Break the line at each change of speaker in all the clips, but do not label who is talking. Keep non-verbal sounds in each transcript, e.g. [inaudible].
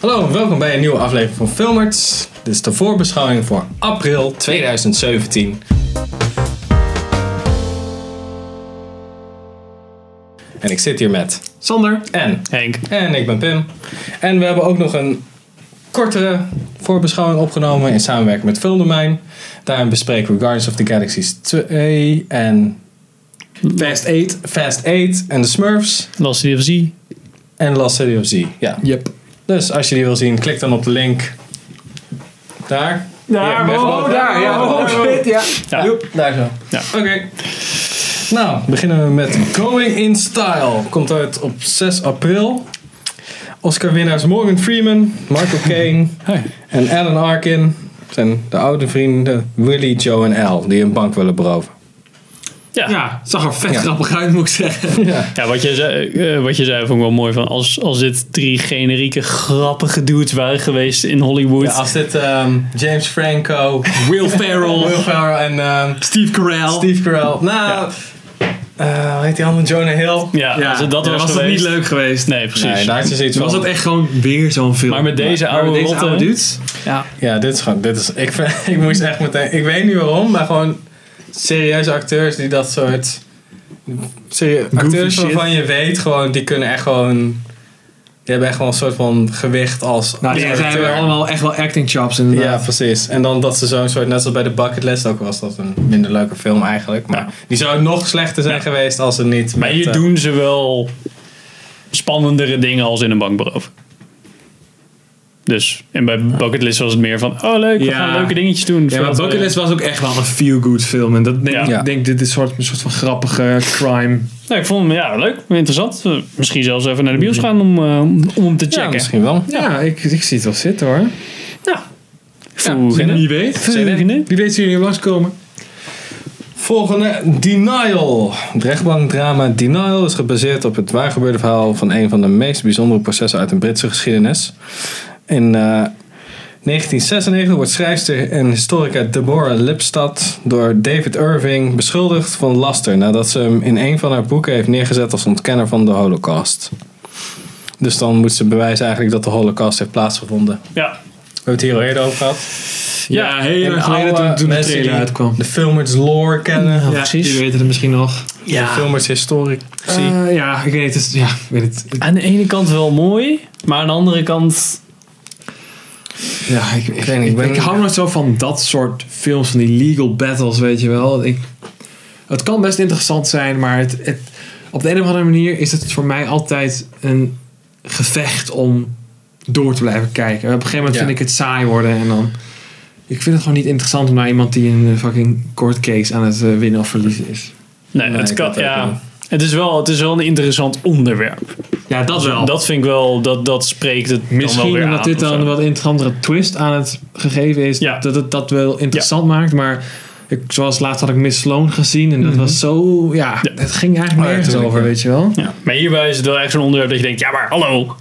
Hallo en welkom bij een nieuwe aflevering van Filmerts. Dit is de voorbeschouwing voor april 2017. En ik zit hier met
Sander.
en
Henk.
en ik ben Pim. En we hebben ook nog een kortere voorbeschouwing opgenomen in samenwerking met Filmdomein. Daarin bespreken we Guardians of the Galaxy 2 en
Fast 8.
Fast 8 en de Smurfs
Lost DFC.
en Last City of Z. Ja.
Yep.
Dus als je die wil zien, klik dan op de link daar. Ja,
oh,
boven-
daar, ja,
boven-
oh,
boven-
Ja.
Joep, daar zo.
Ja.
Oké. Nou, beginnen we met Going in Style. Komt uit op 6 april. Oscar-winnaars Morgan Freeman,
[laughs]
Michael Caine
Hey.
en Alan Arkin zijn de oude vrienden Willie, Joe en Al die een bank willen beroven.
Ja. Ja.
Ja, zag er vet
Ja.
grappig uit, moet ik zeggen.
Ja.
wat je zei, eh, wat je zei vond ik wel mooi. Van als, als dit drie generieke grappige dudes waren geweest in Hollywood.
als dit ehm, James Franco,
Will Ferrell,
[laughs]
Will Ferrell en ehm,
Steve Carell.
Steve Carell. Nou, eh, hoe heet die allemaal? Jonah Hill.
ja,
Ja,
als het dat
dan
was,
was het
geweest.
niet leuk geweest.
Nee, precies.
Nee, daar had je zoiets
Dan was
van-
het echt gewoon weer zo'n film.
maar met deze
Maar
oude
met deze
rotte...
oude dudes? Ja.
Ja, dit is gewoon. Dit is, ik, vind- [laughs] ik moest echt meteen. Ik weet niet waarom, maar gewoon serieuze acteurs die dat soort. Serie, acteurs
shit.
waarvan je weet gewoon, die kunnen echt gewoon. Die hebben echt wel een soort van gewicht als.
Nou,
als
die zijn
acteur.
hebben allemaal echt wel acting chops
Ja,
inderdaad.
precies. En dan dat ze zo'n soort, net zoals bij de Bucket List, ook was dat een minder leuke film eigenlijk. Maar
Ja.
die zou nog slechter zijn
Ja.
geweest als ze niet.
Maar
met,
hier
eh,
doen ze wel spannendere dingen als in een bankberoof. Dus, en bij Bucketlist was het meer van, oh leuk, we
Ja.
gaan leuke dingetjes doen.
Ja, maar
Voordat we-
Bucket List was ook echt wel een feel-good film. En dat denk
Ja.
ik
Ja.
denk dit is soort, een soort van grappige crime.
Nou, ik vond hem ja, leuk, interessant. Eh, Misschien zelfs even naar de bios gaan om, eh, om om hem te
Ja,
checken.
misschien wel.
Mhm. Ja, ik, ik zie het wel zitten hoor.
Ja.
Als je het
Volgende.
niet weet.
Volgende.
Wie weet zien jullie langskomen.
Volgende, Denial. Het rechtbankdrama Denial is gebaseerd op het waargebeurde verhaal van een van de meest bijzondere processen uit de Britse geschiedenis. In eh, 1996 wordt schrijfster en historica Deborah Lipstadt door David Irving beschuldigd van laster nadat ze hem in een van haar boeken heeft neergezet als ontkenner van de Holocaust. Dus dan moet ze bewijzen eigenlijk dat de Holocaust heeft plaatsgevonden.
Ja.
We hebben het hier al eerder over gehad.
Ja,
Ja, heel
En
erg geleden
oude
toen, toen de
mensen
trailer
die
uitkwam.
De filmers lore kennen.
Ja,
Ja,
precies.
jullie weten het misschien nog.
De filmers historici.
Eh, ja, ik weet het. is- Ja, ik weet het.
Aan de ene kant wel mooi, maar aan de andere kant...
Ja, ik, ik,
weet niet, ik
ik,
ben-
ik hou nooit zo van dat soort films, van die legal battles, weet je wel. Ik, het kan best interessant zijn, maar het, het, op de een of andere manier is het voor mij altijd een gevecht om door te blijven kijken. Op een gegeven moment
Ja.
vind ik het saai worden en dan... Ik vind het gewoon niet interessant om naar iemand die een eh, fucking court case aan het eh, winnen of verliezen is.
Nee,
Nee,
het
ik
kan...
weet het ook
Ja.
wel.
Het is, wel, het is wel een interessant onderwerp.
Ja, dat wel.
Dat vind ik wel, dat, dat spreekt het dan wel
Misschien
weer
omdat
aan
dit
of zo.
dan een wat interessantere twist aan het gegeven is.
Ja.
Dat het dat wel interessant maakt. Maar ik, zoals laatst had ik Miss Sloan gezien. En dat was zo... Ja,
Ja.
het ging
Mhm.
eigenlijk
Oh ja,
nergens
tuurlijk,
over,
ja.
weet je wel.
Ja. Maar hierbij is het wel echt zo'n onderwerp dat je denkt, ja maar hallo.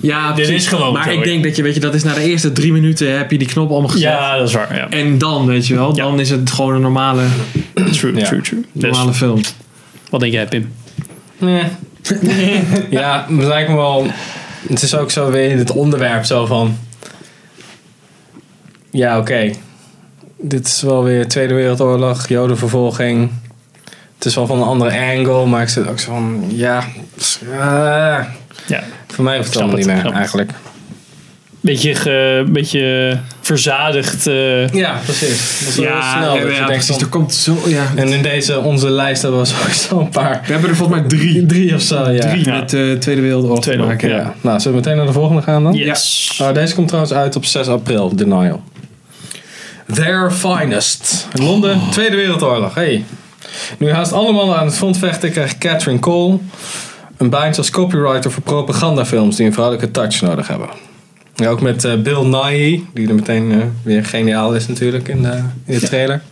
Ja,
Dit is gewoon
Maar
zo,
ik
ja.
denk dat je, weet je, dat is na de eerste drie minuten heb je die knop allemaal gezet.
Ja, dat is waar. Ja.
En dan, weet je wel,
Ja.
dan is het gewoon een normale,
True,
Ja.
true, true. Dus,
normale film.
wat denk jij Pim?
Nee. [laughs] ja, het lijkt me wel. Het is ook zo weer het onderwerp zo van. Ja, oké. Dit is wel weer Tweede Wereldoorlog, Jodenvervolging. Het is wel van een andere angle, maar ik zit ook zo van. Ja. eh,
Ja.
voor mij hoeft het
Snap
allemaal
het,
niet meer
snap het.
eigenlijk.
Beetje, ge- beetje verzadigd. eh,
Ja, precies. Dat is wel heel snel. dat je denkt
ja, precies. Er
van-
komt zo, ja.
en in deze, onze lijst hebben we [laughs] sowieso een paar.
We hebben er volgens mij drie,
Drie of zo, ja.
drie
Ja.
met de Tweede Wereldoorlog te
Tweede
maken.
Wereldoorlog,
Ja. Nou, zullen we meteen naar de volgende gaan dan?
yes.
Oh, deze komt trouwens uit op 6 april, Denial. Their Finest. Londen,
Oh.
Tweede Wereldoorlog. Hey. Nu haast allemaal aan het front vechten krijgt Catherine Cole een baantje als copywriter voor propagandafilms die een vrouwelijke touch nodig hebben. Ja, ook met eh, Bill Nye, die er meteen eh, weer geniaal is natuurlijk in de, in de trailer.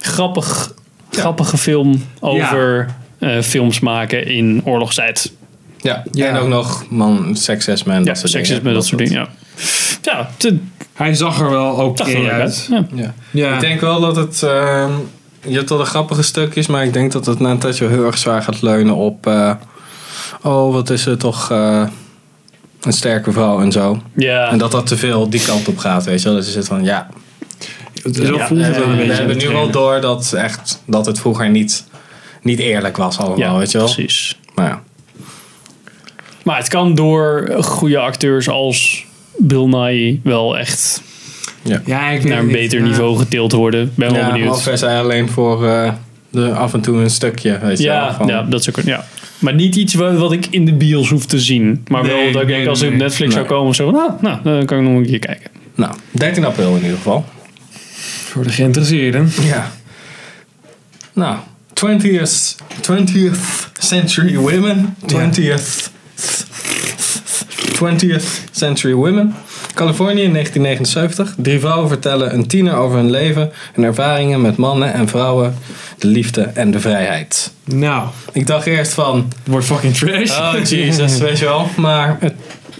Grappig, grappige film over eh, films maken in oorlogstijd.
Ja,
Ja.
en ook nog man, seksisme en
Ja,
dat soort
seksisme,
dingen.
dat soort dingen. Ja, ja het
Hij zag er wel oké
dacht wel leuk uit.
uit.
Ja.
Ja.
Ja.
Ik denk wel dat het. ehm, je hebt wel de grappige stukjes, maar ik denk dat het na een tijdje heel erg zwaar gaat leunen op. eh, oh, wat is er toch. eh, een sterke vrouw en zo.
Ja.
En dat dat te veel die kant op gaat, weet je wel. Dus je zit van, ja,
Zo
Ja,
voelt het
we,
wel een
eh, we
beetje.
hebben nu wel door dat, echt, dat het vroeger niet, niet eerlijk was allemaal,
ja,
weet je wel.
precies.
Maar ja.
Maar het kan door goede acteurs als Bill Nye wel echt
Ja, ik weet
naar
het
een
niet.
beter
Ja.
niveau getild worden. Ben wel
ja,
benieuwd.
of hij zei alleen voor eh, de, af en toe een stukje, weet je wel.
Ja,
van-
ja, dat is ook een- ja. Maar niet iets wa- wat, ik in de bios hoef te zien. Maar
Nee,
wel dat ik
nee,
denk als
nee,
ik op
nee.
Netflix zou
Nee.
komen of zo. van, Ah, nou, dan kan ik nog een keer kijken.
Nou, 13 april in ieder geval.
Voor de geïnteresseerden.
Ja. Nou, 20th, 20th century women. 20th. 20th century women. Californië 1979. Drie vrouwen vertellen een tiener over hun leven en ervaringen met mannen en vrouwen, de liefde en de vrijheid.
Nou,
Ik dacht eerst van,
het wordt fucking trash. [laughs]
oh Jesus, weet je wel. Maar het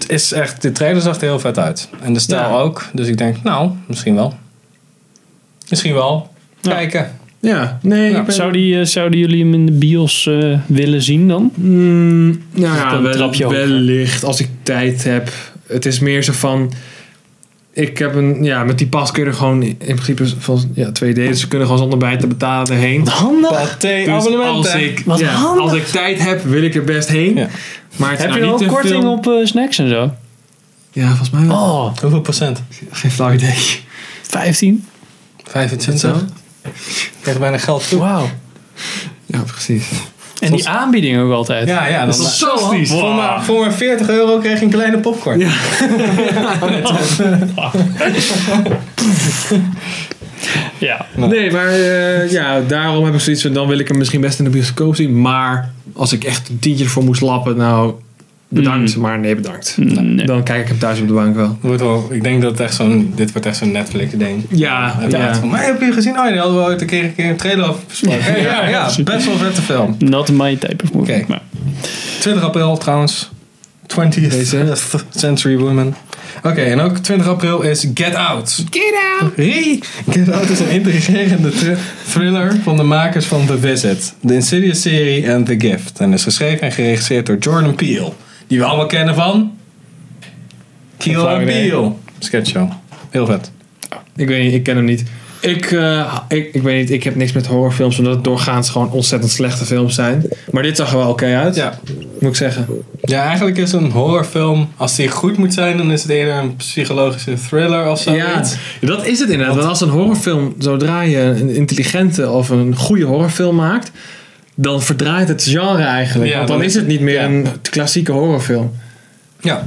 is echt, de trailer zag er heel vet uit. En de stijl
Ja.
ook. Dus ik denk, nou, misschien wel. Misschien wel.
Ja.
Kijken.
Ja, nee.
Ja,
ik ben-
Zou die, eh, zouden jullie hem in de bios eh, willen zien dan?
Mm, nou
het
ja,
een
wel-
trapje hoger?
wellicht als ik tijd heb. Het is meer zo van. Ik heb een. Ja, met die pas kun je er gewoon in principe van. Ja, 2D. Dus ze kunnen gewoon zonder bij te betalen erheen.
Handig.
Pathé
Dus
abonnement.
als
hè?
ik,
Wat
ja,
handig.
als ik tijd heb, wil ik er best heen.
Ja.
Maar het is
Heb
nou
je
niet
ook
te
korting
veel-
op eh, snacks en zo?
Ja, volgens mij wel.
Oh,
Hoeveel procent?
Geen flauw idee.
15?
25.
Zo?
Ik krijg bijna geld toe.
Wauw.
Ja, precies.
En die aanbieding ook altijd.
Ja, ja.
Dat
Dan, eh,
is zo handig.
voor, maar, voor maar 40 euro kreeg je een kleine popcorn.
Ja.
Ja.
Nee, maar eh, ja, daarom heb ik zoiets van, dan wil ik hem misschien best in de bioscoop zien. Maar als ik echt een tientje ervoor moest lappen, nou, bedankt. Maar nee, bedankt.
Nee.
Dan kijk ik hem thuis op de bank wel.
Wordt wel, ik denk dat het echt zo'n, dit wordt echt zo'n Netflix-ding.
Ja,
Ja.
ja.
Van, maar heb je gezien? Oh, daar hadden we ooit een keer een, keer een trailer over besproken. Ja, ja, ja, best wel vette film.
Not my type of movie.
Oké.
Maar
20 april trouwens. 20th
Deze.
[laughs] Century Women. Oké, en ook 20 april is Get Out.
Get out!
Hey, Get Out is een intrigerende thr- thriller van de makers van The Visit, de Insidious-serie en The Gift. En is geschreven en geregisseerd door Jordan Peele, die we allemaal kennen van... Keel
Flauw
en
idee.
Peele. Sketchshow. Heel vet.
Ik weet niet, ik ken hem niet. Ik, eh, ik, ik weet niet, ik heb niks met horrorfilms, omdat het doorgaans gewoon ontzettend slechte films zijn. Maar dit zag er wel oké uit,
Ja.
moet ik zeggen.
ja, eigenlijk is een horrorfilm, als die goed moet zijn, dan is het eerder een psychologische thriller of
Ja,
zoiets.
dat is het inderdaad. Want als een horrorfilm, zodra je een intelligente of een goede horrorfilm maakt, dan verdraait het genre eigenlijk.
Ja,
want dan,
dan
is het niet meer
ja.
een klassieke horrorfilm.
Ja,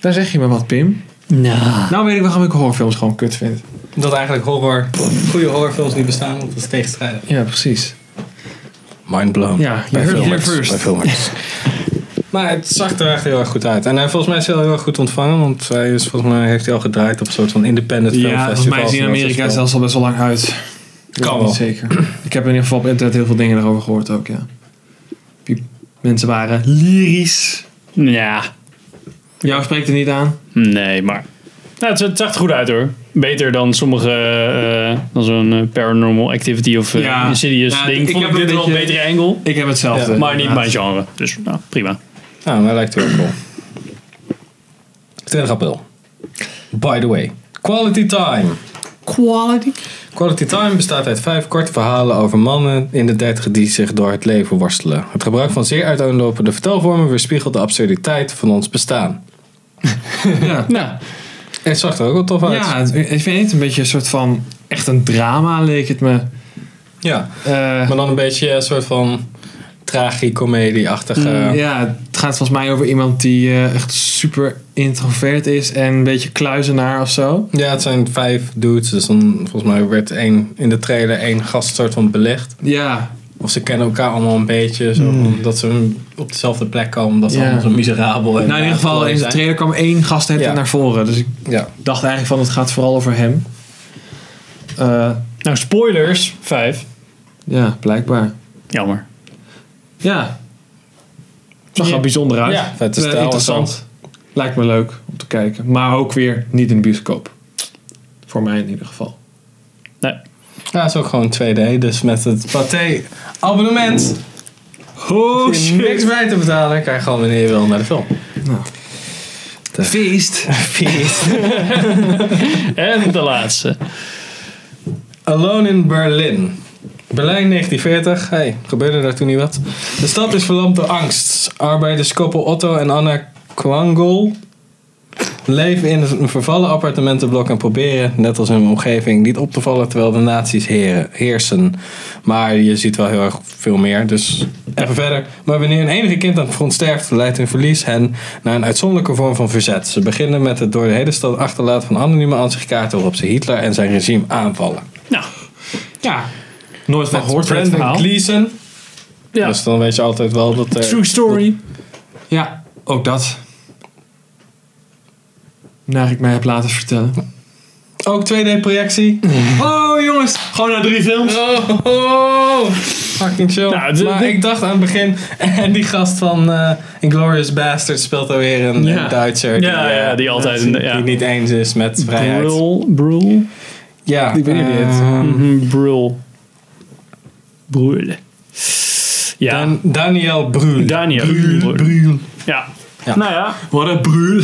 Daar zeg je me wat, Pim.
Nou.
Nou weet ik waarom ik horrorfilms gewoon kut vind.
dat eigenlijk horror, goede horrorfilms niet bestaan, want dat is tegenstrijdig.
Ja, precies.
Mind blown.
Ja, je heard it here first. [laughs]
Maar het zag er echt heel erg goed uit. En hij, volgens mij is hij wel heel erg goed ontvangen. Want hij is, volgens mij heeft hij al gedraaid op een soort van independent
Ja,
filmfestivals.
volgens mij is die in
en dat soort spel.
Amerika zelfs al best wel lang uit. Ik
Kan
weet
wel.
niet Zeker. Ik heb in ieder geval op internet heel veel dingen daarover gehoord ook, ja. Die mensen waren lyrisch.
Ja.
Jou spreekt het niet aan.
Nee, maar. Nou, het, het zag er goed uit hoor. Beter dan sommige. eh, dan zo'n eh, Paranormal Activity of eh,
Ja.
Insidious
Ja,
ding.
ik
Vond ik
heb
dit
een
wel een
beetje-
betere angle.
Ik heb hetzelfde.
Ja,
Maar niet
inderdaad.
mijn genre. Dus nou, prima.
Ja, maar hij lijkt heel cool. 20 april. By the way. Quality Time.
Quality.
Quality Time bestaat uit vijf korte verhalen over mannen in de dertig die zich door het leven worstelen. Het gebruik van zeer uiteenlopende vertelvormen weerspiegelt de absurditeit van ons bestaan.
Ja.
Nou,
Het zag er ook wel tof uit.
Ja, het- ik vind het een beetje een soort van. Echt een drama leek het me.
ja.
Eh,
Maar dan een beetje een soort van tragicomedie-achtige...
Mm, ja, het gaat volgens mij over iemand die eh, echt super introvert is en een beetje kluizenaar of zo.
Ja, het zijn vijf dudes. Dus dan, volgens mij werd één, in de trailer één gast soort van belicht.
Ja,
Of ze kennen elkaar allemaal een beetje. Zo, Omdat ze op dezelfde plek komen. Omdat ze
Ja.
allemaal zo miserabel en
nou in ieder geval in de
zijn.
trailer kwam één gast de hele tijd
Ja.
naar voren. Dus ik
Ja.
dacht eigenlijk van het gaat vooral over hem. Eh,
nou spoilers. Vijf.
ja, blijkbaar.
Jammer.
Ja. Zag er
Ja.
bijzonder uit.
Ja, vette
Eh,
stijl en
Interessant. Lijkt me leuk om te kijken. Maar ook weer niet in de bioscoop. Voor mij in ieder geval.
Nee.
ja, het is ook gewoon 2D. Dus met het Pathé abonnement.
Oh
Hoef je niks bij te betalen. Kan je gewoon wanneer je wil naar de film.
Nou.
Feesten. [laughs]
Feest.
En de laatste.
Alone in Berlin. Berlijn 1940. Hey, gebeurde daar toen niet wat? De stad is verlamd door angst. Arbeiderskoppel Otto en Anna Kwangol leven in een vervallen appartementenblok en proberen, net als hun omgeving, niet op te vallen terwijl de nazi's heren- heersen. Maar je ziet wel heel erg veel meer, dus even verder. Maar wanneer een enige kind aan het front sterft, leidt hun verlies hen naar een uitzonderlijke vorm van verzet. Ze beginnen met het door de hele stad achterlaten van anonieme aanzichtkaarten waarop ze Hitler en zijn regime aanvallen.
Nou,
Ja. Nooit van
Met
gehoord. van het
Brendan
verhaal.
Gleeson.
ja.
Dus dan weet je altijd wel dat er...
True story.
Ja, ook dat. Naar ik mij heb laten vertellen.
Ook
[laughs]
2D-projectie.
Oh jongens, gewoon naar drie films.
Oh, oh, oh. fucking chill.
Nou, dit-
maar
dit-
ik dacht aan het begin... [laughs] En die gast van eh Inglorious Bastard speelt alweer een,
Ja.
een Duitser.
Ja, ja, die altijd
Die,
een- ja.
die het niet eens is met vrijheid.
Brul. Brul.
Ja.
Ik weet niet wie het is.
ehm,
Mhm, Brul. Brul. Ja.
Dan- Daniel Brühl.
Daniel
Brühl.
Brühl.
Brühl.
ja.
Ja.
Nou ja,
Wat een bruul.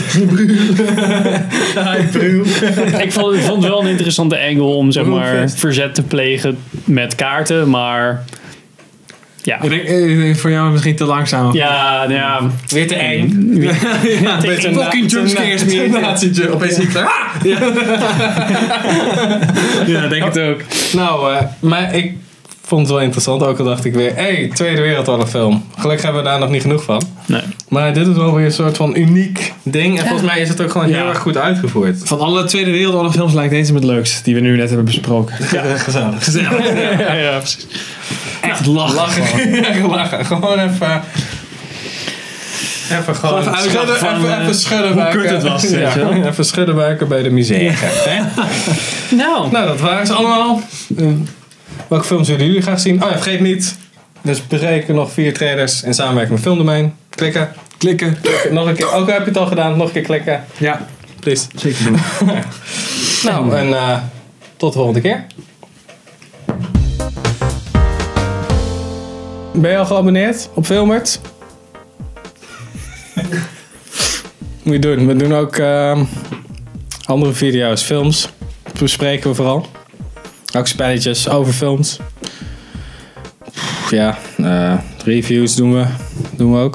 [laughs] ik vond, ik vond het wel een interessante angle om zeg maar
Brulfest.
verzet te plegen met kaarten, maar ja.
Ik denk, eh, ik denk voor jou misschien te langzaam.
Ja, nou ja.
Weer te eng. [laughs]
Ja,
Beetje
eng.
na-
Fucking
te na-
jumpscares
te
meer.
nazi-jump. Opeens Hitler.
ja, denk het ook.
Nou, eh, maar ik vond het wel interessant. Ook al dacht ik weer, hé, hey, Tweede Wereldoorlog film. Gelukkig hebben we daar nog niet genoeg van.
Nee.
Maar dit is wel weer een soort van uniek ding. En volgens mij is het ook gewoon
Ja.
heel erg goed uitgevoerd.
Van alle Tweede Wereldoorlogfilms lijkt deze me het leukst. Die we nu net hebben [laughs] besproken.
[laughs] Gezellig.
Gezellig.
Ja, ja, precies.
Echt lachen. gewoon.
Lachen. lachen. Gewoon even... Even gewoon
Gewoon even
schudden,
uitlachen van,
even,
eh,
even schudden buiken.
kut het was, weet
[laughs] Ja,
je wel.
even schudden buiken bij de musea.
Nou,
Nou, dat waren ze allemaal. Eh, welke films willen jullie graag zien? Oh ja, vergeet niet. Dus bereken nog vier trailers in samenwerking met Filmdomein. Klikken.
Klikken.
Nog een keer. Ook al heb je het al gedaan, nog een keer klikken.
Ja,
Please.
zeker doen.
[laughs] Nou, en eh, tot de volgende keer. Ben je al geabonneerd op Filmert? [laughs] Moet je doen. We doen ook ehm, andere video's, films. Bespreken we vooral. Ook spelletjes over films. Pff, Ja, eh, reviews doen we, doen we ook.